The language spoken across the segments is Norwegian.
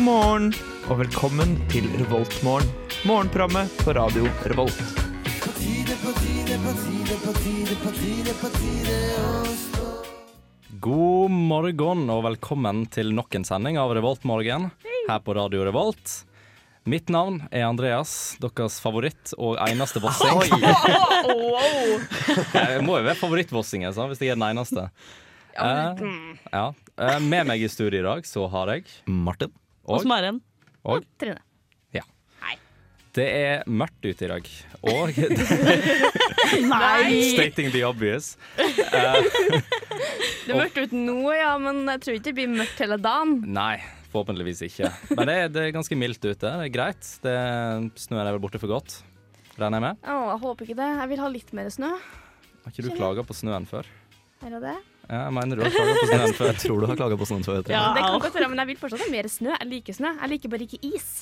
morgen og velkommen til Revoltmorgen. Morgenprogrammet på radio Revolt. God morgen og velkommen til nok en sending av Revoltmorgen her på Radio Revolt. Mitt navn er Andreas, deres favoritt og eneste vossing. Jeg må jo være favorittvossing altså, hvis jeg er den eneste. Eh, ja. Eh, Med meg i studio i dag så har jeg Martin. Og og Maren. Og? Og Trine. Det er mørkt ute i dag. Og Nei! stating the obvious. Det er mørkt ute nå, ja, men jeg tror ikke det blir mørkt hele dagen. Nei, forhåpentligvis ikke. Men det er, det er ganske mildt ute. Det er greit. Det, snøen er vel borte for godt, regner jeg med. Å, jeg håper ikke det. Jeg vil ha litt mer snø. Har ikke du klaga på snøen før? Her og det. Ja, jeg mener du har klaga på snøen før. Tror du har klaga på sånn før? Trine? Ja. Det kan godt være, men jeg vil fortsatt ha mer snø. Jeg liker snø. Jeg liker bare ikke is.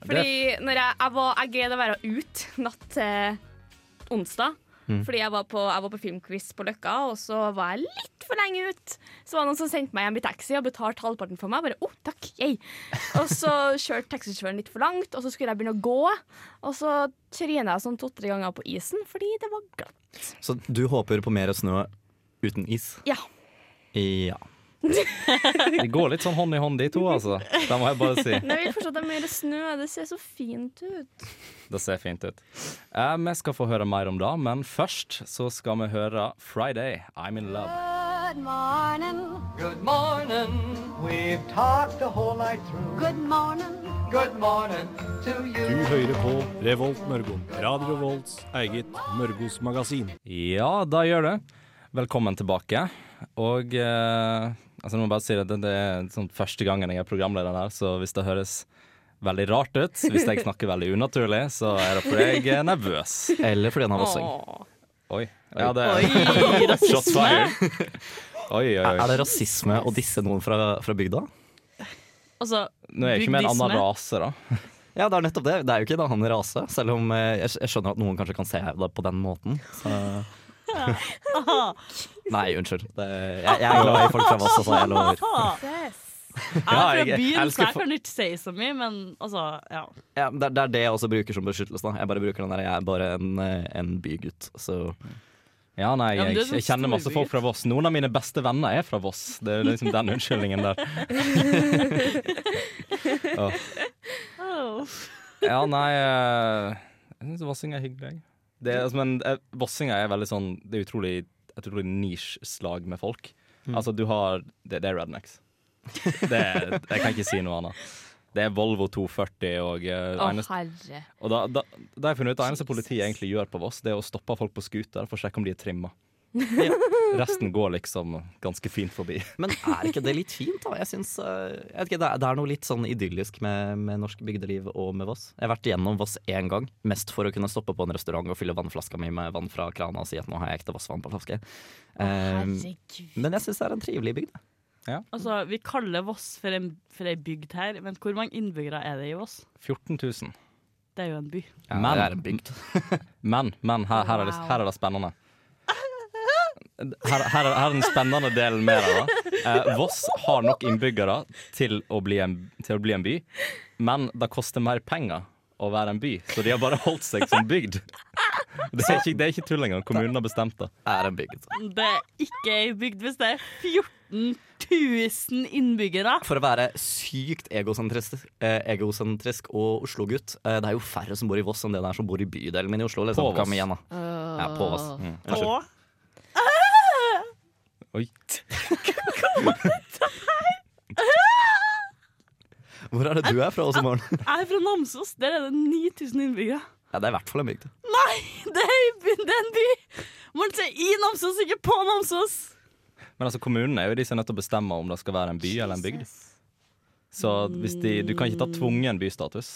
Fordi når jeg, jeg, var, jeg greide å være ute natt til onsdag. Fordi jeg var, på, jeg var på filmquiz på Løkka, og så var jeg litt for lenge ut Så var det noen som sendte meg hjem i taxi og betalte halvparten for meg. Jeg Bare, oh, takk, yay. Og så kjørte taxisjåføren litt for langt, og så skulle jeg begynne å gå. Og så tryna jeg sånn to-tre ganger på isen fordi det var glatt. Så du håper på mer snø uten is? Ja. Ja. De går litt sånn hånd i hånd, de to, altså. Det må jeg bare si. Men jeg vil fortsatt ha mer snø. Det ser så fint ut. Det ser fint ut. Eh, vi skal få høre mer om det, men først så skal vi høre 'Friday I'm In Love'. Good morning. Good morning. We've talked the whole night through. Good morning. Good morning to Du you. hører på Revolt Mørgon. Radio Revolts eget Mørgos magasin. Ja, det gjør det. Velkommen tilbake. Og eh, altså, jeg må bare si at det, det er sånn første gangen jeg er programleder her, så hvis det høres veldig rart ut, hvis jeg snakker veldig unaturlig, så er det fordi jeg er nervøs. Eller fordi han har vossing. Åh. Oi. Ja, det Oi, Shots fired. Oi, oi, Er oi. det rasisme å disse noen fra, fra bygda? Altså, Nå er jeg ikke med en annen bygdisme. rase, da. Ja, det er nettopp det. Det er jo ikke en annen rase. Selv om eh, jeg, jeg skjønner at noen kanskje kan se det på den måten. Så. Nei, unnskyld. Det, jeg, jeg er glad i folk fra Voss, altså. Jeg lover. Ja, Ah! Jeg er jeg- fra jeg byen, så jeg elsker- kan ikke si så mye, men altså, ja. Ja, det, er- det er det jeg også bruker som beskyttelse. Da. Jeg bare bruker den der jeg er bare en, eh, en bygutt. Så Ja, nei, Ja, men jeg, du er sånn jeg kjenner masse folk storbygutt. fra Voss. Noen av mine beste venner er fra Voss. Det er liksom den unnskyldningen der. Åh. Ja, nei eh, Jeg syns vossing er hyggelig, jeg. Det er, altså, men eh, vossinger er veldig sånn Det er utrolig et utrolig nisjeslag med folk. Altså, du har Det, det er rednecks. Det er, jeg kan ikke si noe annet. Det er Volvo 240 og eh, Å, eneste herre. og da, da, da har jeg funnet ut at det eneste politiet egentlig gjør på Voss, det er å stoppe folk på scooter for å sjekke om de er trimma. Resten går liksom ganske fint forbi. Men er ikke det litt fint, da? Jeg synes, eh, jeg vet ikke, det, er, det er noe litt sånn idyllisk med, med norsk bygdeliv og med Voss. Jeg har vært gjennom Voss én gang, mest for å kunne stoppe på en restaurant og fylle vannflaska mi med vann fra krana og si at nå har jeg ekte Voss-vann på flaske. Eh, Herregud. men jeg syns det er en trivelig bygd. Altså, vi kaller Voss for en, for ei bygd her, men hvor mange innbyggere er det i Voss? 14 000. Det er jo en by. men, det er en bygd. men, men her, her, er det, her er det spennende. Her, her, er, her er den spennende delen med det. da eh, Voss har nok innbyggere til å, bli en, til å bli en by, men det koster mer penger å være en by, så de har bare holdt seg som bygd. Det er ikke, det er ikke tull engang. Kommunen har bestemt det. Det er en bygd. Det er ikke ei bygd hvis det er 14 000 innbyggere. For å være sykt egosentrisk, eh, egosentrisk og Oslo-gutt, eh, det er jo færre som bor i Voss enn det der som bor i bydelen min i Oslo. Liksom. På Voss. Kom igjen, da. Ja, på Voss. Mm. Og Unnskyld. Oi. Hvor er det du er fra også, Maren? jeg er fra Namsos. Der er det 9000 innbyggere. Ja, det er i hvert fall en bygd. Nei, det er, ei by, det er en by! Man ser i Namsos, ikke på Namsos. Men altså kommunen er jo de som er nødt til å bestemme om det skal være en by eller en bygd. Så hvis de, du kan ikke ta tvungen bystatus.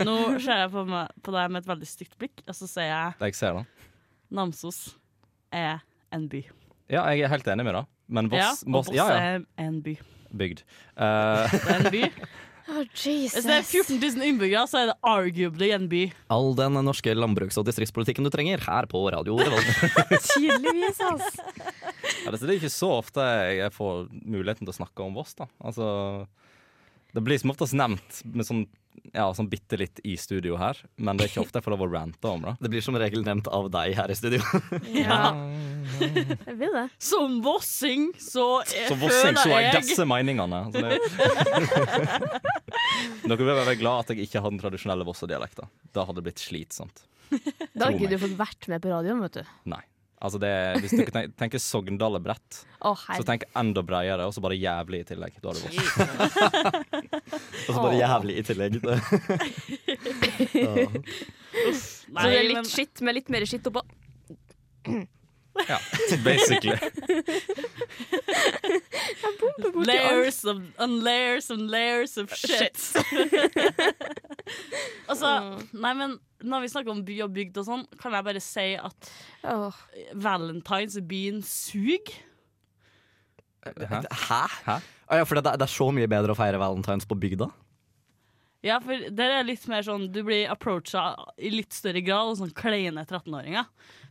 Nå ser jeg på, meg, på deg med et veldig stygt blikk, og så sier jeg Jeg ser det. Namsos er en by. Ja, jeg er helt enig med det. Men ja, Voss, og Voss, Voss ja, ja, er en by. bygd. Eh, Det er en by. Å, Jesus. Hvis det er 14 000 innbyggere, så er det arguably en by. All den norske landbruks- og distriktspolitikken du trenger, her på Radio Revolt. Tydeligvis, altså. ja, det det er ikke så ofte jeg får muligheten til å snakke om Voss, da. Altså Det blir som oftest nevnt med sånn, ja, sånn bitte litt i studio her, men det er ikke ofte jeg får lov å rante om det. Det blir som regel nevnt av deg her i studio. Ja. Jeg vil det. Som vossing så, er, Så vossing så føler jeg jeg disse meningene. Så det... Dere bør være glad at jeg ikke har den tradisjonelle vossedialekten. Da hadde det blitt slitsomt. Da har Tro ikke meg. du fått vært med på radioen, vet du. Nei. Altså det, hvis dere tenk- tenker Sogndalebrett, Å, så herre. tenk enda bredere, og så bare jævlig i tillegg. Da er det voss. Og så bare jævlig i tillegg. Så det er men- litt skitt med litt mer skitt oppå. Ja, basically. Layers of, and layers and layers of shit. altså, nei, men når vi snakker om by og bygd og sånn, kan jeg bare si at Åh. Valentines i byen suger. Hæ? Hæ? Hæ? Å ja, for det, det er så mye bedre å feire valentines på bygda. Ja, for der er litt mer sånn Du blir approacha i litt større grad av sånn kleine 13-åringer.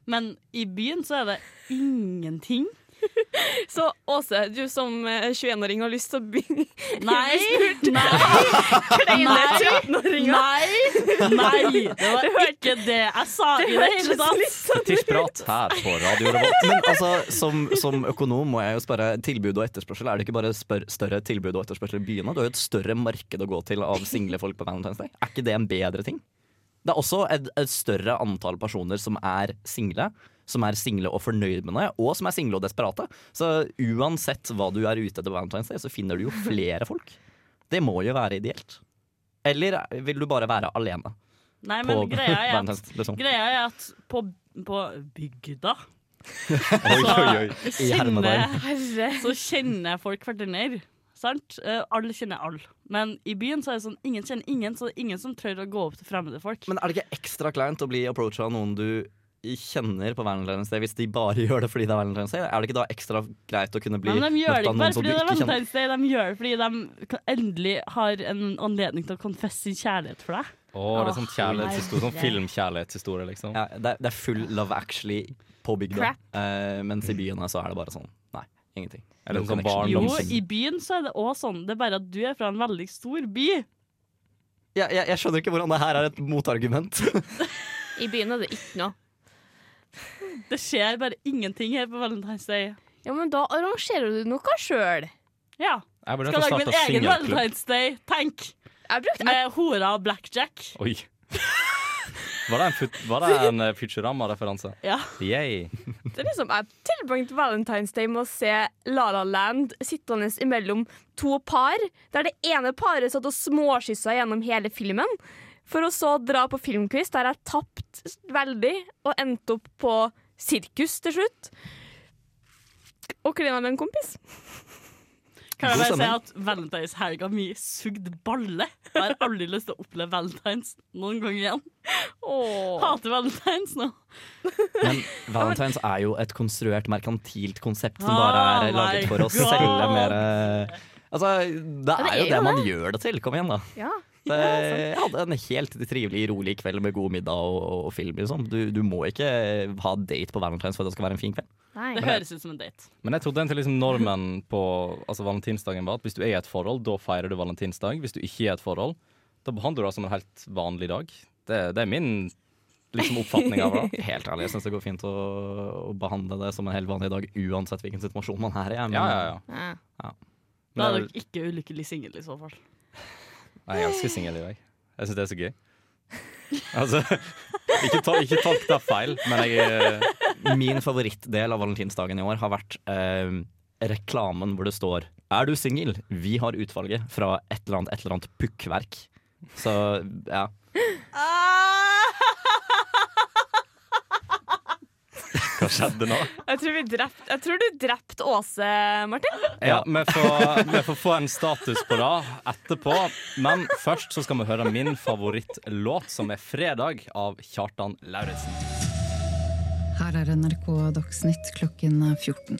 Men i byen så er det ingenting. Så Åse, du som eh, 21-åring har lyst til å begynne Nei! Nei! Nei! Nei! Nei! Det var ikke det jeg sa i det hele tatt. Fetisjprat her på Radio Revolt. Men altså, som, som økonom må jeg jo spørre tilbud og etterspørsel. Er det ikke bare spør større tilbud og etterspørsel i byene? Du har jo et større marked å gå til av single folk på Valentine's Day. Er ikke det en bedre ting? Det er også et, et større antall personer som er single. Som er single og fornøyd med det, og som er single og desperate. Så uansett hva du er ute etter på Valentine's Day, så finner du jo flere folk. Det må jo være ideelt. Eller vil du bare være alene Nei, på men greia er at Valentine's? Liksom? Greia er at på, på bygda Oi, oi, oi. så I kjenner, hermetegn. Herre. så kjenner folk hverandre. Sant? Eh, alle kjenner alle. Men i byen så er det sånn ingen kjenner ingen, så det er ingen som tør å gå opp til fremmede folk. Men er det ikke ekstra kleint å bli approacha av noen du kjenner på Valentine's Day, hvis de bare gjør det fordi det er Valentine's Day? Er det ikke da ekstra greit å kunne bli Nei, men de gjør det møtt av ikke noen bare som fordi du det er ikke kjenner? Valentine's Day, de gjør det fordi de kan- endelig har en anledning til å confesse sin kjærlighet for deg. Å, det er sånn kjærlighetshistorie. Sånn filmkjærlighetshistorie, liksom. Ja, det, er, det er full love actually på bygda, Crap. Eh, mens i byene så er det bare sånn nei, ingenting. Er det No sånn connection. Jo, barndoms- i byen så er det òg sånn, det er bare at du er fra en veldig stor by. jeg, jeg, jeg skjønner ikke hvordan det her er et motargument. I byen er det ikke noe. Det skjer bare ingenting her på Valentine's Day. Ja, men da arrangerer du noe sjøl. Ja. Jeg burde Skal nesten lage min starte egen singelklubb. Valentine's Day, tenk! Jeg brukte Med hora og blackjack. Oi. Var det en, fut- var det en eh, Futurama-referanse? Ja. Yay. Det er liksom, jeg tilbrakte Valentine's Day med å se La La Land sittende imellom to par, der det ene paret satt og småkyssa gjennom hele filmen, for å så dra på filmquiz, der jeg tapte veldig og endte opp på sirkus til slutt. Og klina med en kompis. Kan jeg God bare si stemning. at valentinshelga mi sugde balle. Jeg har aldri lyst til å oppleve valentines noen gang igjen. Åh. Hater valentines nå. Men Valentine's er jo et konstruert, merkantilt konsept som Ah, bare er my laget for å God. selge mer eh, Altså, det det er jo er jo det man gjør det til. Kom igjen, da. Ja. Det, jeg hadde en helt trivelig, rolig kveld med god middag og, og, og film. Liksom. Du, du må ikke ha date på Valentine's for at det skal være en fin kveld. Det høres ut som en date. Men jeg trodde egentlig liksom normen på altså valentinsdagen var at hvis du er i et forhold, da feirer du valentinsdag. Hvis du ikke er i et forhold, da behandler du det som en helt vanlig dag. Det, det er min liksom, oppfatning av det. Helt ærlig, Jeg syns det går fint å, å behandle det som en helt vanlig dag, uansett hvilken situasjon man er i. men- Ja, ja, ja. Da er Men jeg, dere ikke ulykkelig singel i så fall. nei, jeg elsker singelliv, jeg. Jeg syns det er så gøy. Altså, ikke, tol ikke tolk det feil, men jeg eh, Min favorittdel av valentinsdagen i år har vært eh, reklamen hvor det står Er du singel? Vi har utvalget fra et eller annet, et eller annet pukkverk. Så ja. Hva skjedde nå? Jeg tror, vi drept, jeg tror du drepte Åse, Martin. Ja, vi får, vi får få en status på det etterpå. Men først så skal vi høre min favorittlåt, som er 'Fredag' av Kjartan Lauritzen. Her er NRK Dagsnytt klokken 14.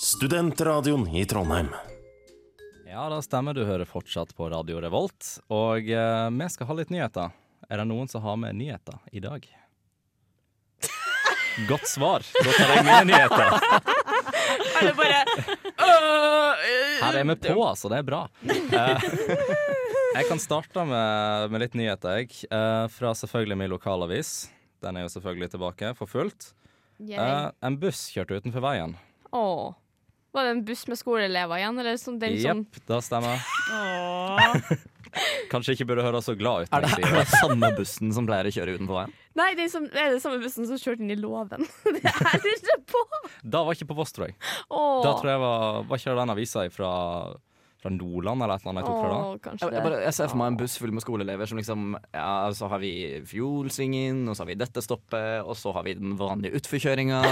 studentradioen i Trondheim. Ja, da stemmer. Du hører fortsatt på Radio Revolt. Og eh, vi skal ha litt nyheter. Er det noen som har med nyheter i dag? Godt svar. Da tar jeg mine nyheter. Alle bare Her er vi på, altså. Det er bra. Eh, jeg kan starte med, med litt nyheter, jeg. Eh, fra selvfølgelig min lokalavis. Den er jo selvfølgelig tilbake for fullt. Yay. Eh, en buss kjørte utenfor veien. Åh. Var det en buss med skoleelever igjen? Eller sånn den som Jepp, det stemmer. Kanskje ikke burde høre så glad ut. Er det, når jeg er sier det samme bussen som pleier å kjøre utenfor veien? Nei, det er, som, det er den samme bussen som kjørte inn i låven. det er det ikke på! det. Da var jeg ikke på Voss, tror jeg. Åh. Da tror jeg var, var ikke det den avisa fra, fra Nordland eller et eller annet jeg tok fra da. Åh, kanskje Jeg, det. jeg, bare, jeg ser for meg en buss full med skoleelever som liksom Ja, så har vi Fjolsvingen, og så har vi dette stoppet, og så har vi den vanlige utforkjøringa.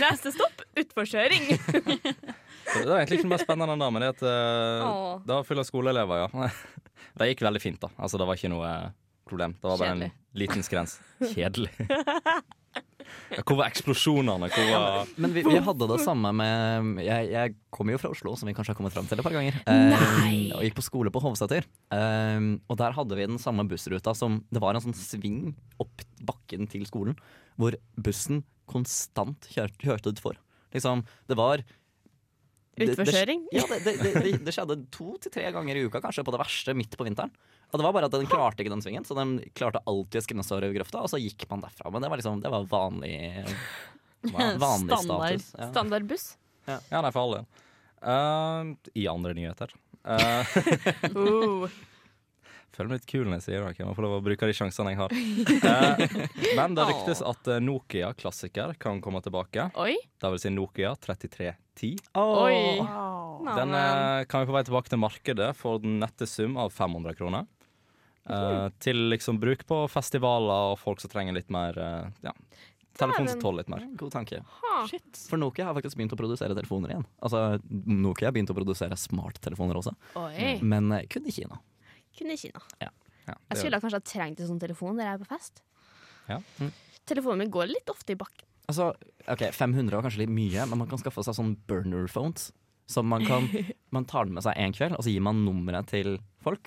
Neste stopp utforkjøring. Så det var egentlig ikke noe mer spennende enn det, men det at eh, Åh. det var full av skoleelever, ja. Det gikk veldig fint, da. Altså, det var ikke noe eh, problem. Det var bare Kjedelig. en liten skrens. Kjedelig. Ja, Hvor var eksplosjonene? Hvor var Men vi, vi hadde det samme med Jeg, jeg kommer jo fra Oslo, som vi kanskje har kommet fram til et par ganger. Nei. Eh, og gikk på skole på Hovseter. Eh, og der hadde vi den samme bussruta som Det var en sånn sving opp bakken til skolen, hvor bussen konstant kjørte, kjørte utfor. Liksom, det var det- det- Utforkjøring? Ja, det, det, det, det, det skjedde to til tre ganger i uka, kanskje, på det verste midt på vinteren. Og det var bare at den klarte ikke den svingen, så den klarte alltid å skremme seg over grøfta, og så gikk man derfra. Men det var liksom, det var vanlig, vanlig Standard. status. Ja. Standardbuss. Ja, nei, for all del. Eh, I andre nyheter. Eh, Oh. Føler meg litt kul når jeg sier det. ok? Jeg må få lov å bruke de sjansene jeg har. Eh, men det ryktes at eh, Nokia-klassiker kan komme tilbake. Oi. Det vil si Nokia 3310. Oi. Wow. Den Neimen. eh, kan vi på vei tilbake til markedet for den nette sum av 500 kroner. Eh, til liksom bruk på festivaler og folk som trenger litt mer eh, ja, Telefon som tåler litt mer. God tanke. Ha. Shit. For Nokia har faktisk begynt å produsere telefoner igjen. Altså, Nokia har begynt å produsere smarttelefoner også, Oi. men eh, kun i Kina. Kun i Kina. Ja, Jeg det- skulle kanskje ha trengt en sånn telefon der jeg er på fest. Ja. mm. Telefonen min går litt ofte i bakken. Altså, ok, 500 var kanskje litt mye, men man kan skaffe seg sånn burner phones. Som man kan Man tar den med seg en kveld, og så gir man nummeret til folk.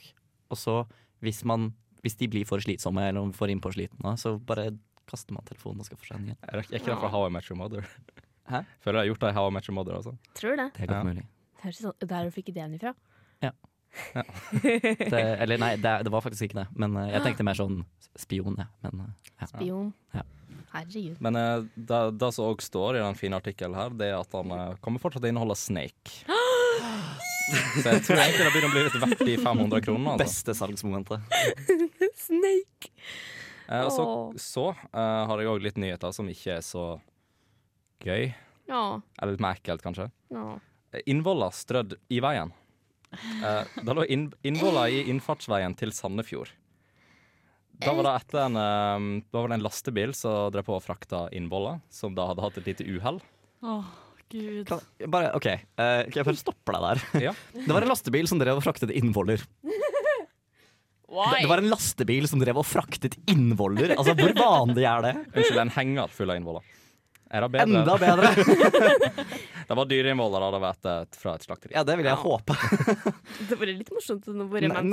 Og så, hvis man Hvis de blir for slitsomme, eller om får innpå slitne, så bare kaster man telefonen og skaffer seg en igjen. er det ikke fra How I Met Your Mother? Hæ? Føler jeg har gjort det i How I Met Your Mother. Altså. Tror det. Det er godt Ja. mulig. Det høres sånn der du fikk ideen ifra. Det, eller nei, det, det var faktisk ikke det. Men eh, jeg tenkte mer sånn spion, jeg. Men eh, ja. Spion. Ja. Herregud. Men eh, det, det som òg står i den fine artikkelen her, det er at han eh, kommer fortsatt til å inneholde Snake. Så jeg tror egentlig det begynner å bli litt verdt de 500 kronene. Altså. Beste salgsmomentet. Snake. Eh, og så Åh. så eh, har jeg òg litt nyheter som ikke er så gøy. Ja. Eller litt mer ekkelt, kanskje. ja. Eh, Innvoller strødd i veien. Eh, det lå inn, innvoller i innfartsveien til Sandefjord. Da var det etter en, eh, da var det en lastebil som drev på og frakta innvoller, som da hadde hatt et lite uhell. Åh, gud. Kan, bare, OK. eh, kan jeg bare stoppe deg der? Ja. Det var en lastebil som drev og fraktet innvoller. Det, det var en lastebil som drev og fraktet innvoller. Altså, hvor vanlig er det? Unnskyld, en henger full av innvoller. Er det bedre? Enda bedre! Det var dyreinnvoller da det var etter et, eh, fra et slakteri. Ja, det vil jeg håpe. Det var litt morsomt å være Nei,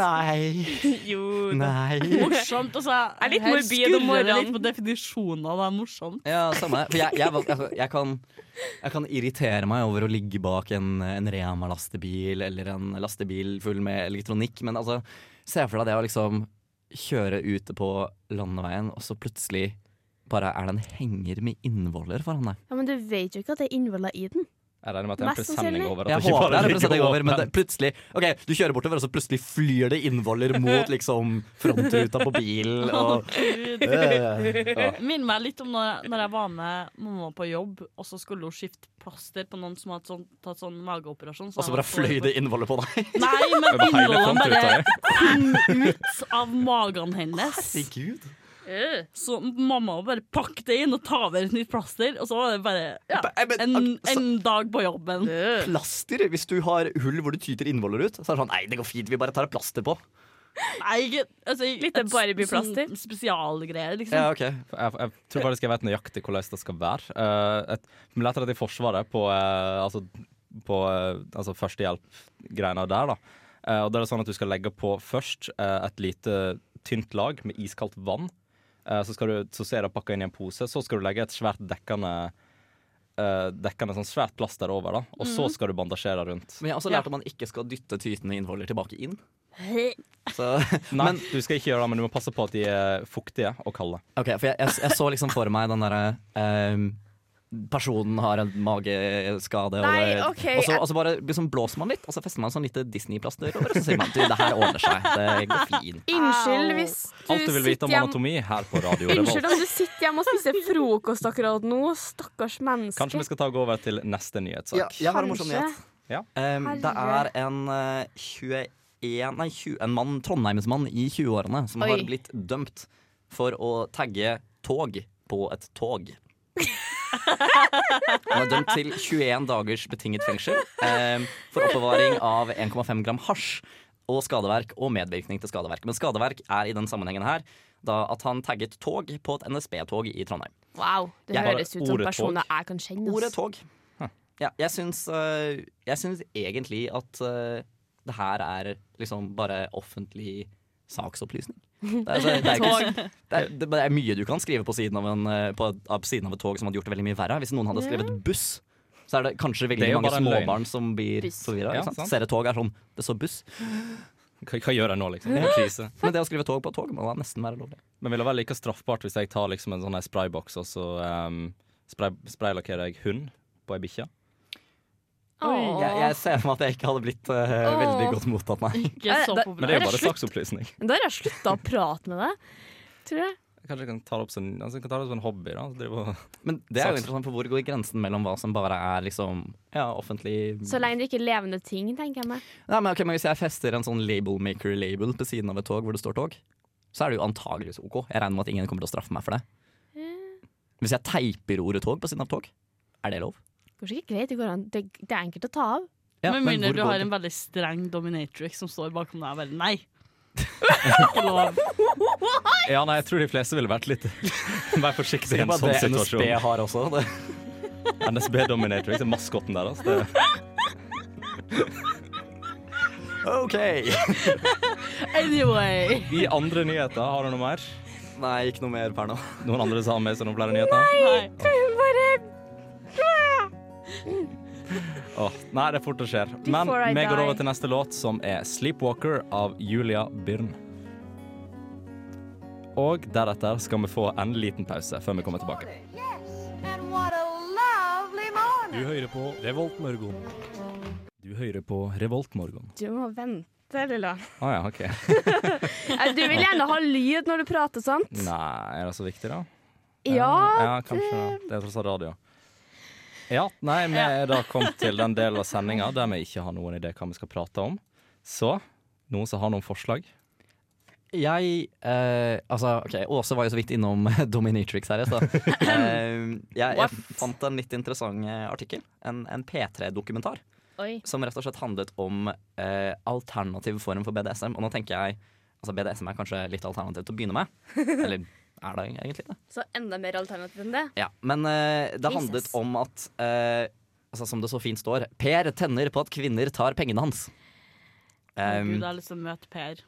nei. Jo. nei. Morsomt. Altså, Er litt her morbid om skurrer det morgenen. litt på definisjonen av det er morsomt. Ja, samme. For jeg, jeg, altså, jeg, kan, jeg kan irritere meg over å ligge bak en, en Rema-lastebil eller en lastebil full med elektronikk, men altså, se for deg det å liksom kjøre ute på landeveien, og så plutselig bare er det en henger med innvoller foran deg. Ja, men du vet jo ikke at det er innvoller i den. Jeg regner med at det er en Mest presenning sannsynlig. over. at Jeg ikke håper det bare er en presenning ligger over, men det, åpent. plutselig Ok, du kjører bortover, og så plutselig flyr det innvoller mot liksom frontruta på bilen. Og, Gud. øh. Minn meg litt om når, når jeg var med mamma på jobb, og så skulle hun skifte plaster på noen som hadde sånn, tatt sånn mageoperasjon. og så bare fløy det innvoller på deg. Nei, men Over hele frontruta, innholdene bare kom ut av magen hennes. Herregud. Så mamma må bare pakke det inn og ta over et nytt plaster, og så var det bare ja, Ba- men, en, ak- så- en dag på jobben. Plaster? Hvis du har hull hvor du tyter innvoller ut, så er det sånn Nei, det går fint, vi bare tar et plaster på. Nei, ikke, altså, Litt et s- Barbie-plaster. sånn Spesialgreier, liksom. Ja, ok Jeg, jeg tror faktisk jeg vet nøyaktig hvordan det skal være. Eh, et, vi lærte det i Forsvaret på, eh, altså, på eh, altså førstehjelp-greiene der. da. Eh, og da er det sånn at Du skal legge på først eh, et lite tynt lag med iskaldt vann. Eh, så, skal du, så ser det pakka inn i en pose. Så skal du legge et svært dekkende eh, Dekkende sånn svært plaster over, da og Mhm. så skal du bandasjere rundt. Men jeg har også lært at man ikke skal dytte tytende innvoller tilbake inn. Så, Nei, du skal ikke gjøre det, men du må passe på at de er fuktige og kalde. ok, for jeg, jeg, jeg så liksom for meg den derre ehm, Personen har en mageskade, og, Nei, det, ok, og, så, jeg- og så bare liksom blåser man litt, og så fester man sånn lite Disney-plaster over, og så sier man at det her ordner seg. Det går fint. Unnskyld hvis du Alt du vil vite om sitter hjem- anatomi her på Radio Unnskyld Revolt. om du sitter hjemme og spiser frokost akkurat nå. Stakkars menneske. Kanskje vi skal ta og gå over til neste nyhetssak. Ja, jeg har en morsom Kanskje. nyhet. Ja. Ehm, det er Herre. en eh, 21 Nei, 20, en mann, Trondheimsmann i 20-årene som har Oi. blitt dømt for å tagge tog på et tog. Han er dømt til 21 dagers betinget fengsel ehm, for oppbevaring av 1,5 gram hasj og skadeverk og medvirkning til skadeverk. Men skadeverk er i den sammenhengen her da at han tagget tog på et NSB-tog i Trondheim. Wow, det Jeg- høres ut som Ordet personer jeg kan kjenne. Ordet ass. tog. Ja, jeg syns, øh, jeg syns egentlig at øh, det her er liksom bare offentlig saksopplysning. Det er, altså, det er, ikke, det er, det er mye du kan skrive på siden av, en, øh, på, av siden av et tog som hadde gjort det veldig mye verre. Hvis noen hadde skrevet buss, så er det kanskje veldig Det er jo mange bare en løgn. småbarn som blir Buss. forvirra. Ja, ikke sant? sant. Ser et tog er sånn Det står buss. Hva, hva gjør jeg nå, liksom? Det er en krise. Men det å skrive tog på et tog må da nesten være lovlig. Men vil det være like straffbart hvis jeg tar liksom en sånn her sprayboks og så um, spray, spraylakkerer jeg hund på ei bikkje? Åh. Jeg, jeg ser for meg at jeg ikke hadde blitt øh, veldig Åh. godt mottatt, nei. Ikke så Eh, det- Men det er populært. jo bare saksopplysning. Da har jeg slutta å prate med deg. Tror jeg. Kanskje jeg kan ta det opp som, altså, jeg kan ta det opp som en hobby? da så drive og- Men det er jo Saks. interessant, for hvor går grensen mellom hva som bare er liksom ja, offentlig Så lenge det ikke er levende ting, tenker jeg meg. Nei, men, ok, men Hvis jeg fester en sånn labelmaker-label på siden av et tog hvor det står tog, så er det jo antageligvis OK. Jeg regner med at ingen kommer til å straffe meg for det. Hvis jeg teiper ordet tog på siden av tog, er det lov? Kanskje ikke greit, det, går an. Det, det er enkelt å ta av. Ja, Med men mindre hvor du går har det? en veldig streng dominatrix som står bakom deg og bare nei. Ikke lov. Ja, nei, jeg tror de fleste ville vært litt Vær forsiktig i en Bare sånn det NSB situasjon. har også. Det. NSB dominerer ikke maskotten der, altså. Det, OK! Anyway. I andre nyheter, har du noe mer? Nei, ikke noe mer per nå. Noen andre som har med seg noen flere nyheter? Nei. Åh, nei, det er fort det skjer. Men Before I vi går die. over til neste låt, som er 'Sleepwalker' av Julia Byrn. Og deretter skal vi få en liten pause før vi kommer tilbake. Yes, and what a lovely morning. Du hører på Revolt Mørgon. Du hører på Revoltmorgen. Du må vente, lilla. Å ja, OK. Eh, Du vil gjerne ha lyd når du prater, sant? Nei, er det så viktig, da? Ja. Ja, kanskje. da. Det er tross alt radio. Ja, nei, vi er da kommet til den delen av sendinga der vi ikke har noen idé hva vi skal prate om. Så noen som har noen forslag? Jeg eh, Altså, OK, Åse var jo så vidt innom Dominatrix her i stad. Eh, jeg, jeg fant en litt interessant eh, artikkel. En, en P3-dokumentar. Oi. som rett og slett handlet om eh, alternativ form for BDSM. Og nå tenker jeg altså BDSM er kanskje litt alternativt å begynne med. Eller er det egentlig det? Så enda mer alternativ enn det. Ja, Men eh, det Jesus. handlet om at eh, altså Som det så fint står Per tenner på at kvinner tar pengene hans. Um, Gud, jeg har lyst til å møte Per.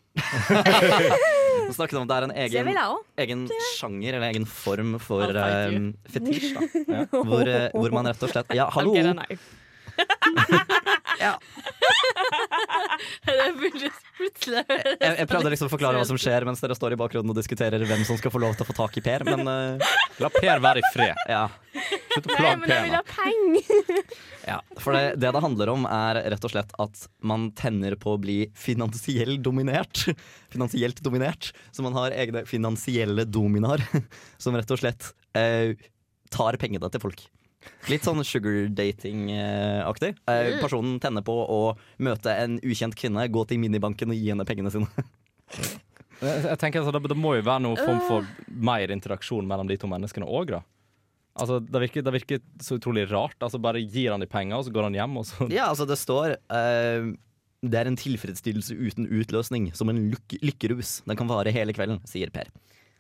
så snakket om at Det er en Det egen, vil jeg òg. egen sjanger eller egen form for Alternativ. um, eh, fetisj. Da. Hvor, eh, hvor man rett og slett Ja, hallo! Ok, da, nei. Ja. Det burde plutselig Jeg, jeg prøvde liksom å forklare hva som skjer mens dere står i bakgrunnen og diskuterer hvem som skal få lov til å få tak i Per, men eh, La Per være i fred. ja. Slutt å Nei, plage men jeg Per vil nå. ha penger. ja. For det, det det handler om, er rett og slett at man tenner på å bli finansiell dominert. Finansielt dominert. Så man har egne finansielle dominaer som rett og slett eh, tar pengene til folk. Litt sånn sugardating-aktig. Eh, personen tenner på å møte en ukjent kvinne, gå til minibanken og gi henne pengene sine. Jeg jeg tenker altså, det, det må jo være noen form Øh. for mer interaksjon mellom de to menneskene òg, da. Altså, det, virker, det virker så utrolig rart. Altså, bare gir han de penger, og så går han hjem, og så Ja, altså det står eh, Det er en tilfredsstillelse uten utløsning, som en lyk lykkerus. Den kan vare hele kvelden, sier Per.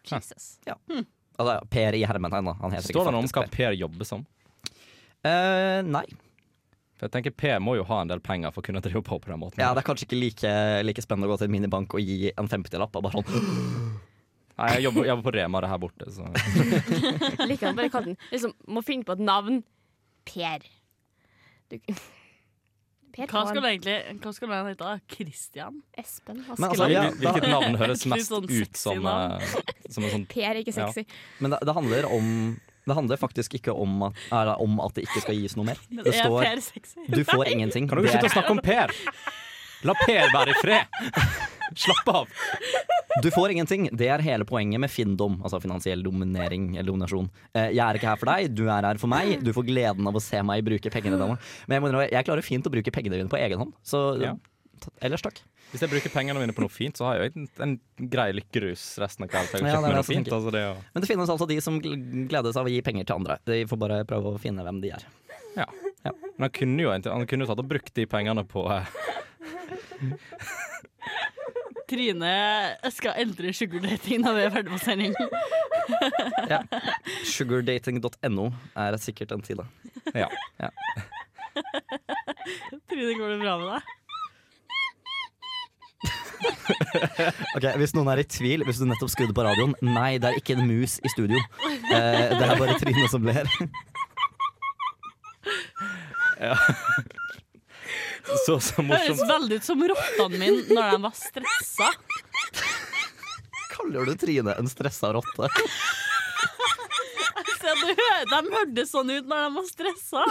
Jesus. Altså Per i hermetegn, da. Han heter Står det noe om faktisk hva Per. Per jobber som? Eh, nei. For jeg tenker Per må jo ha en del penger for å kunne drive på på den måten. Ja, det er kanskje ikke like, like spennende å gå til en minibank og gi en femtilapp. og Bare sånn Nei, jeg jobber, jeg jobber på Rema det her borte, så Liker han bare kaller den liksom, Må finne på et navn. Per. Du, per Hva Karl, skulle egentlig Hva skulle han hete? da? Christian? Espen Men Askeladd. altså, ja, Hvil- Hvilket da, navn høres Egentlig mest sånn ut sexy som, navn. eh, som en sånn Per er ikke sexy. Men det, det handler om Det handler faktisk ikke om at, er det om at det ikke skal gis noe mer. Det Er står Per sexy? du får ingenting. Kan dere Det er- slutte å snakke om Per? La Per være i fred! Slapp av! Du får ingenting. Det er hele poenget med finndom. Altså finansiell dominering eller dominasjon. Eh, Jeg er ikke her for deg, du er her for meg. Du får gleden av å se meg bruke pengene dine. Men jeg, må innrømme, jeg klarer fint å bruke pengene dine på egen hånd. Så Ja. t- ellers takk. Hvis jeg bruker pengene mine på noe fint, så har jeg jo en, en grei lykkerus resten av kvelden. for Jeg Ja, har det kjøpt meg noe er det jeg fint, tenker. altså det, er jo- Men det finnes altså de som gl- gleder seg av å gi penger til andre. De får bare prøve å finne hvem de er. ja. Ja. Men han kunne jo egentlig- han kunne jo tatt og brukt de pengene på eh, Trine skal eldre sugardating når vi er ferdig på sending. Ja. Sugardating.no er sikkert en side. Ja. Trine, går det bra med deg? Ok, Hvis noen er i tvil, hvis du nettopp skrudde på radioen Nei, det er ikke en mus i studio. Eh, det er bare Trine som ler. Så, så Høres morsomt. veldig ut som rottene mine når de var stressa. Kaller du Trine en stressa rotte? Så du hø- De hørtes sånn ut når de var stressa.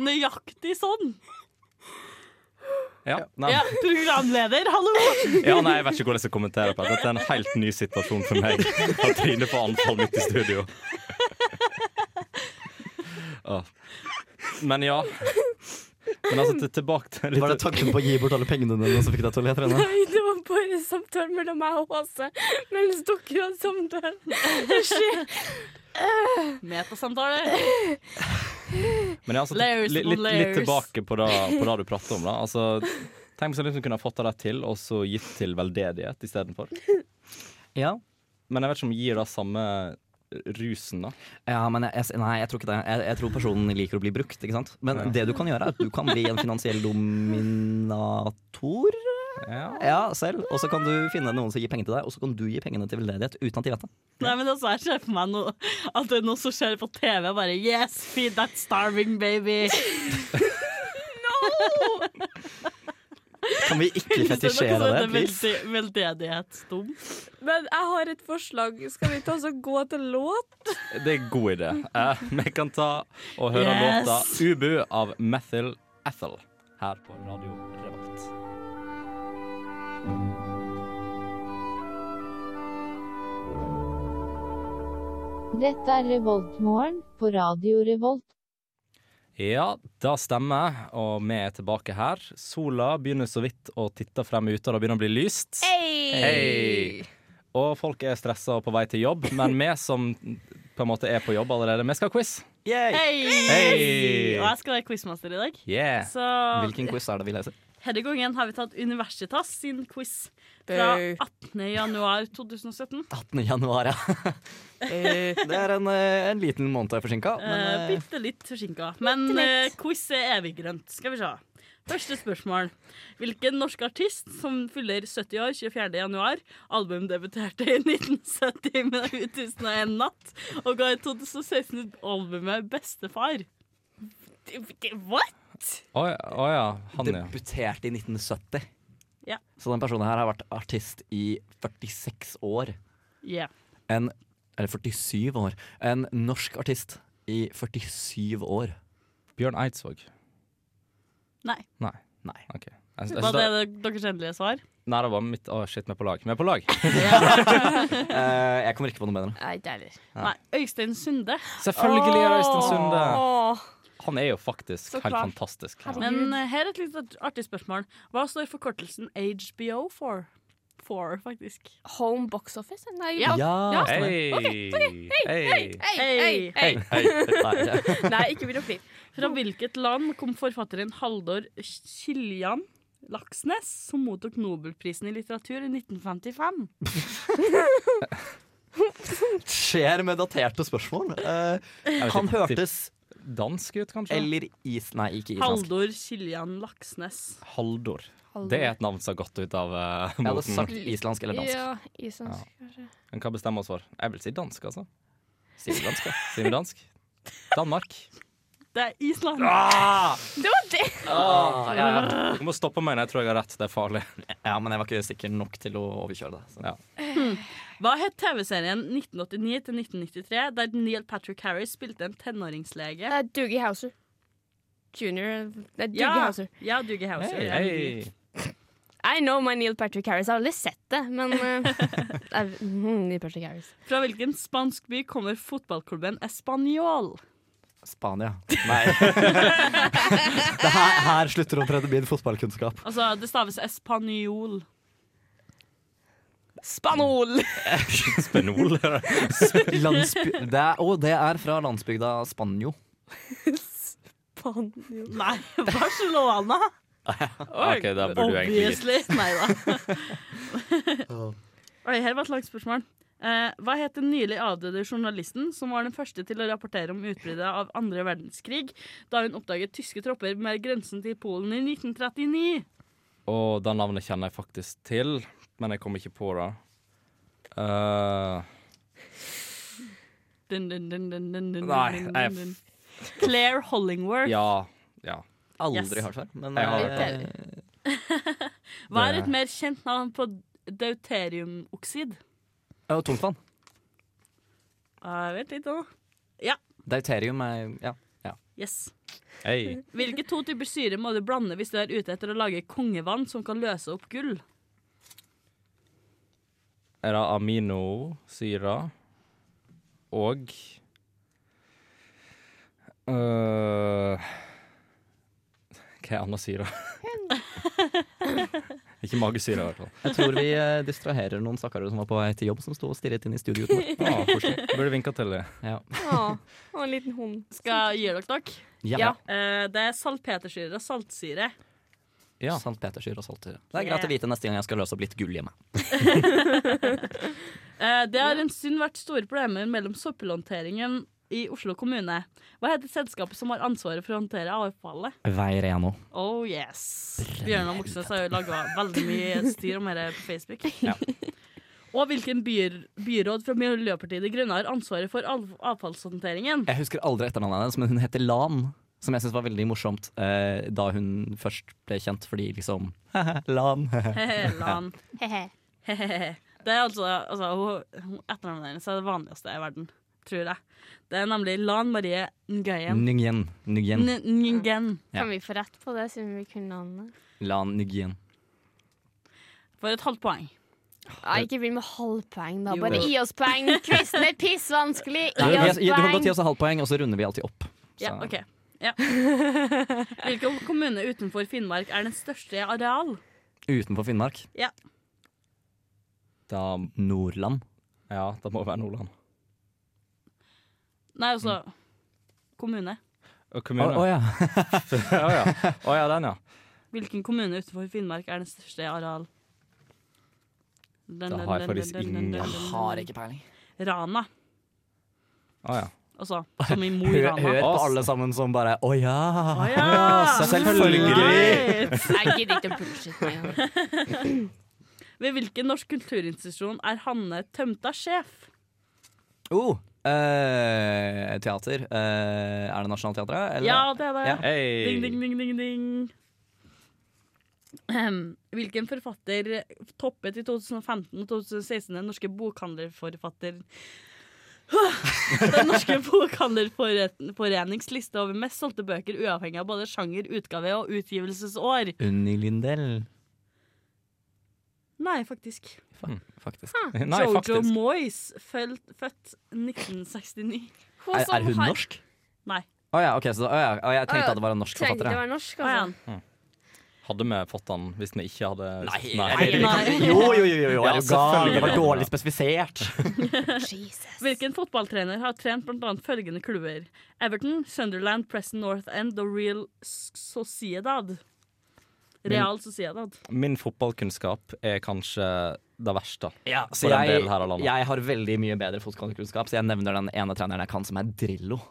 Nøyaktig sånn. Ja. Nei. Ja, programleder, hallo! ja, nei, jeg vet ikke hvordan jeg skal kommentere på det. Dette er en helt ny situasjon for meg. At Trine får anfall midt i studio. Åh. Men ja. Men altså, til, tilbake til Var det tanken på å gi bort alle pengene dine som fikk deg til å le, Trine? Nei, det var bare samtalen mellom meg og Åse mens dere hadde samtalen. Metasamtale. Men ja, altså, Layers litt, upon litt, litt layers. tilbake på det, på det du prater om. Da. Altså, tenk hvis jeg liksom kunne ha fått det der til, og så gitt til veldedighet istedenfor. Ja. Men jeg vet ikke om gir det samme rusen, da. Ja, men jeg, jeg, nei, jeg tror ikke det. Jeg, jeg tror personen liker å bli brukt. ikke sant? Men det du kan gjøre, er at du kan bli en finansiell dominator Ja. Ja, selv. Og så kan du finne noen som gir penger til deg, og så kan du gi pengene til veldedighet uten at de vet det. Nei, men altså, Jeg ser for meg noe, at det er noe som skjer på TV. Jeg Bare Yes, feed that starving baby. Kan vi ikke sånn fetisjere det, please? please? Veldedighetsdom. Men jeg har et forslag. Skal vi ta oss og gå til låt? Det er en god idé. Eh, vi kan ta og høre Yes. låta 'Ubu' av Methyl Ethel her på Radio Revolt. Dette er Revoltmorgen på Radio Revolt. Ja, det stemmer, og vi er tilbake her. Sola begynner så vidt å titte frem ute, og det begynner å bli lyst. Hei! Og folk er stressa og på vei til jobb, men vi som på en måte er på jobb allerede, vi skal ha quiz. Yay! Hei! Hey! Og jeg skal være quizmaster i dag. Yeah. Så Hvilken quiz er det vi leser? denne gangen har vi tatt Universitas sin quiz fra 18.1.2017. 18. januar, ja. Det er en, eh, en liten måned jeg er forsinka. Uh, Men eh, Bitte litt forsinka. Men eh, quiz er evig grønt. Skal vi se. Første spørsmål. Hvilken norsk artist som fyller 70 år 24. januar, album debuterte i 1970 med 1001 natt, og ga i 2016 ut albumet Bestefar? What? Å ja, å ja. Han, ja. Debuterte i 1970. Ja. Så den personen her har vært artist i 46 år. Yeah. En, eller 47 år. En norsk artist i 47 år. Bjørn Eidsvåg. Nei. Nei. Nei. ok. Jeg, jeg, Var synes det det- deres endelige svar? nei, det var mitt Å, shit, vi er på lag. Vi er på lag! Eh, jeg kommer ikke på noe bedre. Nei, ikke heller. Nei. Øystein Sunde. Selvfølgelig er det Øystein Sunde. Åh, Han er jo faktisk Så helt klart. fantastisk. Herregud. Men eh, her er et litt artig spørsmål. Hva står forkortelsen HBO for? For, faktisk. home box office? Nei, Ja. Ja, stemmer. Hei! Hei! Hei, hei, hei. Hei, hei. Nei, Nei, ikke begynn å flire. Fra hvilket land kom forfatteren Haldor Kiljan Laksnes, som mottok Nobelprisen i litteratur i 1955? Skjer med daterte spørsmål. Eh, han hørtes Dansk ut, kanskje? eller is... Nei, ikke islandsk. Haldor Kiljan Laksnes. Haldor. Det er et navn som har gått ut av eh, Jeg hadde moten. sagt islandsk eller dansk. Ja, sånn- islandsk, kanskje. Men hva bestemmer oss for? Jeg vil si dansk, altså. Sier vi dansk, ja. Sier vi dansk? Danmark. Det er Island. Det var det! Du må stoppe meg når jeg tror jeg har rett. Det er farlig. ja, men jeg var ikke sikker nok til å overkjøre det. Så. Ja. Hva het TV-serien 1989-1993 der Neil Patrick Harris spilte en tenåringslege? Det er Doogie Hauser. Junior eh, Det er Doogie Ja, Hauser. ja Dougie Hauser. Hei, Ja, hei. Dougie. I know my Neil Patrick Harris. Jeg har aldri sett det, men eh, det er- mm, Neil Patrick Harris. Fra hvilken spansk by kommer fotballklubben Español? Spania. Nei. det her, her slutter omtrent min fotballkunnskap. Altså, det staves Español. Spanol! Spenol. Landsby det, er, å, det er fra landsbygda Spanjo. Spanol. Nei, Barcelona! OK, da burde du egentlig Obviously. Nei da. Oi, her var et langt spørsmål. Eh, hva het den nylig avdøde journalisten som var den første til å rapportere om utbruddet av andre verdenskrig, da hun oppdaget tyske tropper med grensen til Polen i 1939? Og det navnet kjenner jeg faktisk til, men jeg kom ikke på det. Eh, Dun, dun, dun, dun, dun, dun, Nei, dun, jeg- dun, dun. Claire Hollingworth. ja. ja. Aldri Yes. hørt før. Men Jeg har eh, hørt Hva er det- et mer kjent navn på deuteriumoksid? å, tungtvann. Jeg vet litt nå. Deuterium er eh, ja. Yes. Hei. Hvilke to typer syre må du blande hvis du er ute etter å lage kongevann som kan løse opp gull? Er det aminosyre og øh, Hva er annet syre? Ikke magesyre, i hvert fall. Jeg tror vi eh, distraherer noen stakkarer som var på vei til jobb, som sto og stirret inn i studioet vårt. Ah, koselig. Burde vinka til det. Ja. Å, å, en liten hund. Skal jeg gi dere dere? Ja. Eh, det er saltpetersyre og saltsyre. Ja. St. Petersyre og saltsyre. Det er greit å vite neste gang jeg skal løse opp litt gull hjemme. Eh, det har en stund vært store problemer mellom søppelhåndteringen i Oslo kommune. Hva heter selskapet som har ansvaret for å håndtere avfallet? Veireno. Oh yes. Bjørnar Moxnes har jo laga veldig mye styr om dette på Facebook. Og hvilken byr byråd fra Miljøpartiet De Grønne har ansvaret for av avfallshåndteringen? Jeg husker aldri etternavnet hennes, men hun heter Lan. Som jeg syns var veldig morsomt eh, da hun først ble kjent, fordi liksom Lan. Lan. Det er altså, altså hun- hun- Etternavnet hennes er det vanligste i verden, tror jeg. Det er nemlig Lan Marie Nguyen. Nguyen. Nguyen. N- Nguyen. Ja. Kan vi få rett på det, siden vi kunne navnet? Lan Nguyen. For et halvt poeng. Nei, ikke begynn med halvpoeng, da. Jo. Bare gi oss poeng. Quizen er pissvanskelig. Du, Gi oss du kan godt gi poeng. oss et halvt poeng, og så runder vi alltid opp. Ja, Så- ok. Ja. Hvilken kommune utenfor Finnmark er den største i areal? Utenfor Finnmark. Ja. Da, Nordland. ja, da må det være Nordland. Nei, altså Kommune. Og Å kommune. å ja. ja, ja. Å, ja, den, ja. Hvilken kommune utenfor Finnmark er den største i areal? Da har jeg faktisk ingen- Jeg peiling. Rana. Å, Ah, ja. Altså som i Mo i Hør, Rana. hør på alle sammen som bare Å ja. Å ja! Selvfølgelig. Right. Jeg gidder ikke å bullshit meg. ja. Ved hvilken norsk kulturinstitusjon er Hanne Tømta sjef? Oh, Eh, teater. Eh, er det Nationaltheatret? eller? Ja, det er det. Ja. Ding, ding, ding, ding, ding. Ahem. Hvilken forfatter toppet i 2015 og 2016 den norske bokhandlerforfatter Den norske bokhandlerforenings liste over mest solgte bøker uavhengig av både sjanger, utgave og utgivelsesår? Unni Lindell, Nei, faktisk. Fa- faktisk. Hm, Nei, Jojo faktisk. Moyes, født, født 1969. Er, er hun norsk? Nei. Å ja, ok, så, å ja, å, jeg tenkte at det var en norsk Trengte forfatter. det å ja. være norsk, Å, ja. altså. Hadde vi fått den hvis vi ikke hadde Nei, Nei. Jo, jo, jo, jo, jo. Ja, er du gal? selvfølgelig. Det var dårlig spesifisert. altså. Hvilken fotballtrener har trent bl.a. følgende klubber? Everton, Sunderland, Preston North End og Real S- Sociedad. Real Sociedad. Min fotballkunnskap er kanskje det verste. Ja, så For en jeg, del her av landet. jeg har veldig mye bedre fotballkunnskap, så jeg nevner den ene treneren jeg kan, som er Drillo.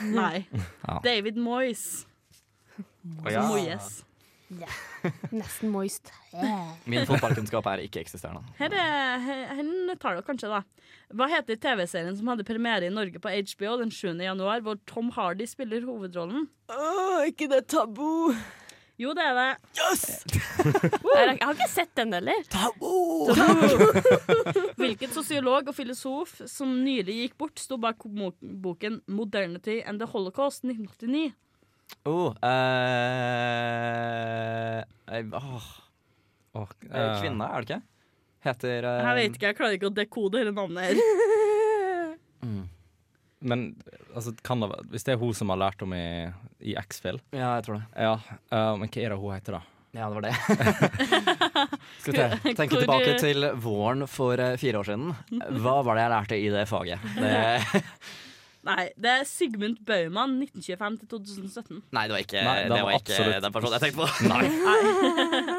Nei. Ja. David Moyes. ja. Moyes. Nesten moist. Min fotballkunnskap er ikke-eksisterende. Her er, her, her tar dere kanskje, da. Hva heter TV-serien som hadde premiere i Norge på HBO den 7. januar, hvor Tom Hardy spiller hovedrollen? ikke det tabu. Jo, det er det. Jeg har ikke sett den heller. Hvilken sosiolog og filosof som nylig gikk bort, sto bak mo- boken 'Modernity and the Holocaust' 1989? Oh, eh, eh, åh, Åh, eh, eh, kvinne, er det ikke? Heter eh, Jeg vet ikke, jeg klarer ikke å dekode hele navnet her. Men altså, kan det, være- hvis det er hun som har lært om i, i X-Fill Ja, jeg tror det. Ja, eh, men hva er det hun heter, da? Ja, det var det. Skal vi te- tenke Hvor- tilbake til våren for eh, fire år siden. Hva var det jeg lærte i det faget? Det, Nei, det er Sigmund Baumann, 1925 til 2017. nei, det var ikke, Nei, det det var var ikke absolutt- den personen jeg tenkte på.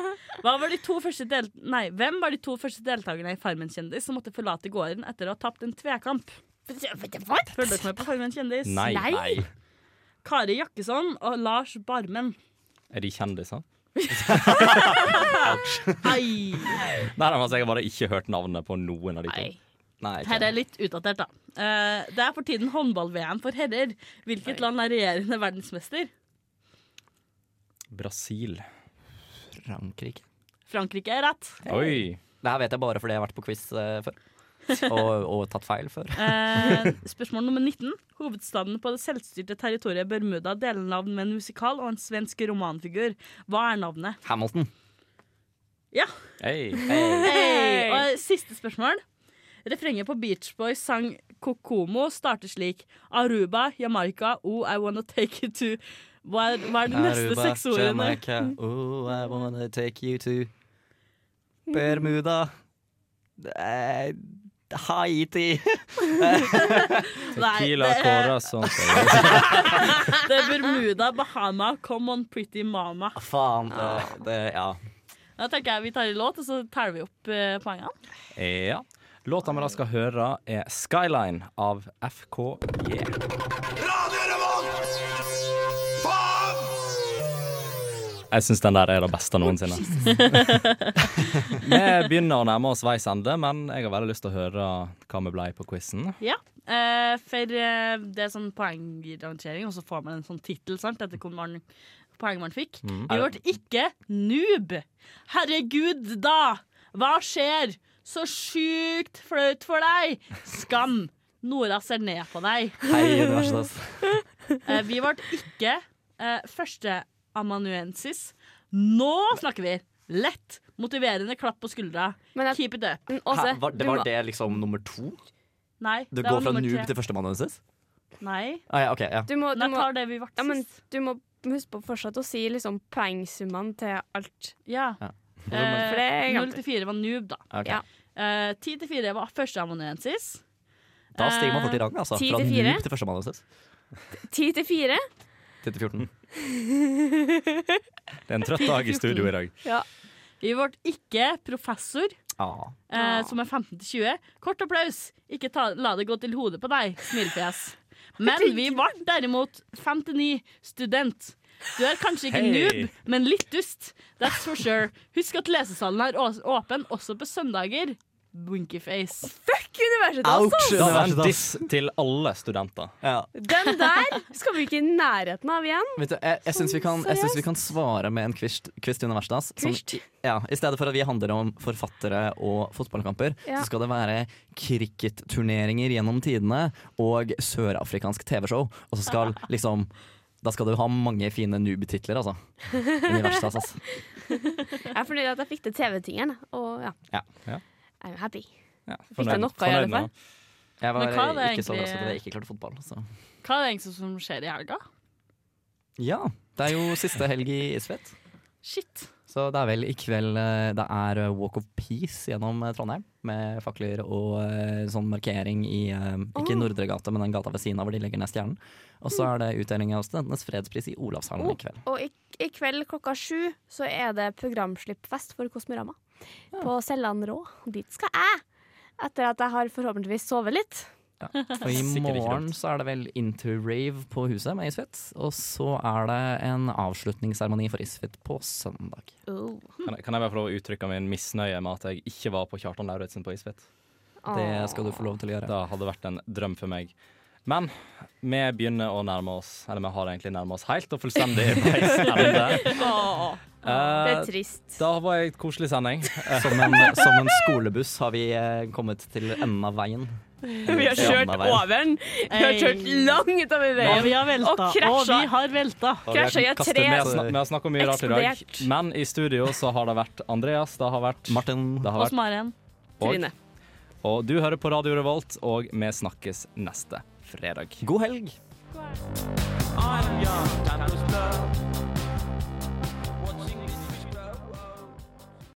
Nei. Hva var de to første del... Nei, hvem var de to første deltakerne i Farmen kjendis som måtte forlate gården etter å ha tapt en tvekamp? Følger dere med på Farmen kjendis? Nei. Nei. Kari Jakkesson og Lars Barmen. Er de kjendiser? Ei. Nei, altså, jeg har bare ikke hørt navnet på noen av de to. Nei. Nei, Her ikke. er litt utdatert, da. Eh, det er for tiden håndball-VM for herrer. Hvilket land er regjerende verdensmester? Brasil. Frankrike. Frankrike er rett. Oi. Det her vet jeg bare fordi jeg har vært på quiz eh, før. Og, og tatt feil før. Eh, spørsmål nummer 19. Hovedstaden på det selvstyrte territoriet Bermuda deler navn med en musikal og en svensk romanfigur. Hva er navnet? Hamilton. Ja. Hey. Hey. Og siste spørsmål. Refrenget på Beach Boys sang Kokomo starter slik Aruba, Jamaica, oh, I wanna take you to Hva er, hva er de neste Aruba, seks ordene? Jamaica, oh, I wanna take you to Bermuda. Eh, Haiti. Nei, Kila det, er, Kåra som sier det er eh, Bermuda, Bahama, Come on pretty mama. Faen. Det, det, ja. Da tenker jeg vi tar en låt, og så teller vi opp eh, poengene. Ja. Låta vi da skal høre, er 'Skyline' av FKJ. Jeg syns den der er det beste noensinne. vi begynner å nærme oss veis ende, men jeg har veldig lyst til å høre hva vi blei på quizen. Ja, eh, for eh, det er sånn poengrangering, og så får man en sånn tittel sant, etter hvor mange poeng man fikk. Vi ble ikke noob. Herregud, da! Hva skjer? Så sjukt flaut for deg! Skam! Nora ser ned på deg. Hei, universet. ass. Eh, vi ble ikke eh, førsteamanuensis. Nå snakker vi! Lett, motiverende klapp på skuldra. Men jeg, Keep it up. men Hæ, Åse, var, du det, må- var det liksom nummer to? Nei, Du det var går fra nummer tre. noob til førsteamanuensis? Nei, Ah, ja, ok, ja. du må, du da må, tar det vi ble ja, men sist. du må huske på fortsatt å si liksom poengsummene til alt. Ja. Ja. For det er Eh, 0 gammelt. til 4 var noob, da. Ok. Ja. Eh, 10 til 4 var førsteamanuensis. Da stiger man fort i rang, altså. Ti Fra til fire. noob til førsteamanuensis. Ti til fire? 10 til 14. Det er en trøtt dag i studio i dag. Vi ble ikke professor, Ah. eh, Ah. som er 15 til 20. Kort applaus. Ikke ta, la det gå til hodet på deg, smilefjes. Men vi ble derimot 59 student. Du er kanskje ikke Hei. noob, men litt dust. That's for sure. Husk at lesesalen er ås- åpen også på søndager. winky face. Fuck universitetet, Ah. Da var en altså! diss til alle studenter. Den der skal vi ikke i nærheten av igjen. Vet du, jeg, jeg syns vi, kan- jeg syns vi kan svare med en quiz, quiz til universitetet. ass. Som- Quiz? Ja, I stedet for at vi handler om forfattere og fotballkamper, Ja. så skal det være cricketturneringer gjennom tidene og sørafrikansk TV-show. Og så skal liksom Da skal du ha mange fine noob-titler, altså. Universitas, altså. ass. Jeg er fornøyd at jeg fikk til TV-tingen. Og ja, Ja. I'm happy. Ja, Fikk jeg noe i alle fall? Jeg var Men hva er det ikke egentlig- så overrasket at jeg ikke klarte fotball. Så. Hva er det egentlig som skjer i helga? Ja, det er jo siste helg i Isfjett. Shit. Så det er vel i kveld eh, det er eh, Walk of Peace gjennom eh, Trondheim. Med fakler og eh, sånn markering i eh, ikke Nordre gate, men den gata ved siden av hvor de legger ned stjernen. Og så er det utdeling av Studentenes fredspris i Olavshallen i kveld. Og i, i kveld klokka sju så er det programslippfest for Kosmorama på Selland Rå. Og dit skal jeg! Etter at jeg har forhåpentligvis sovet litt. Og i morgen så er det vel Into Rave på huset med Isfjett. Og så er det en avslutningsseremoni for Isfjett på søndag. Oh. Kan jeg, kan jeg bare få lov å uttrykke min misnøye med at jeg ikke var på Kjartan Lauritzen på Isfjett? Det skal du få lov til å gjøre. Det hadde vært en drøm for meg. Men vi begynner å nærme oss Eller vi har egentlig nærmet oss helt og fullstendig veis ende. Åh, det Eh, er trist. Da var jeg et koselig sending. Som en, som en skolebuss har vi eh, kommet til enden av veien. Vi har kjørt Enden av veien. over den. Vi har Ei. kjørt langt utover Og veien. vi har velta. Og Og vi krasja. har velta. Krasja i et Kastet- tre. Vi har snak- vi har snakket mye rart i dag, Eksplodert. men i studio så har det vært Andreas, det har vært Martin det har Og vært, Maren. og- Trine. Og du hører på Radio Revolt, og vi snakkes neste fredag. God helg! I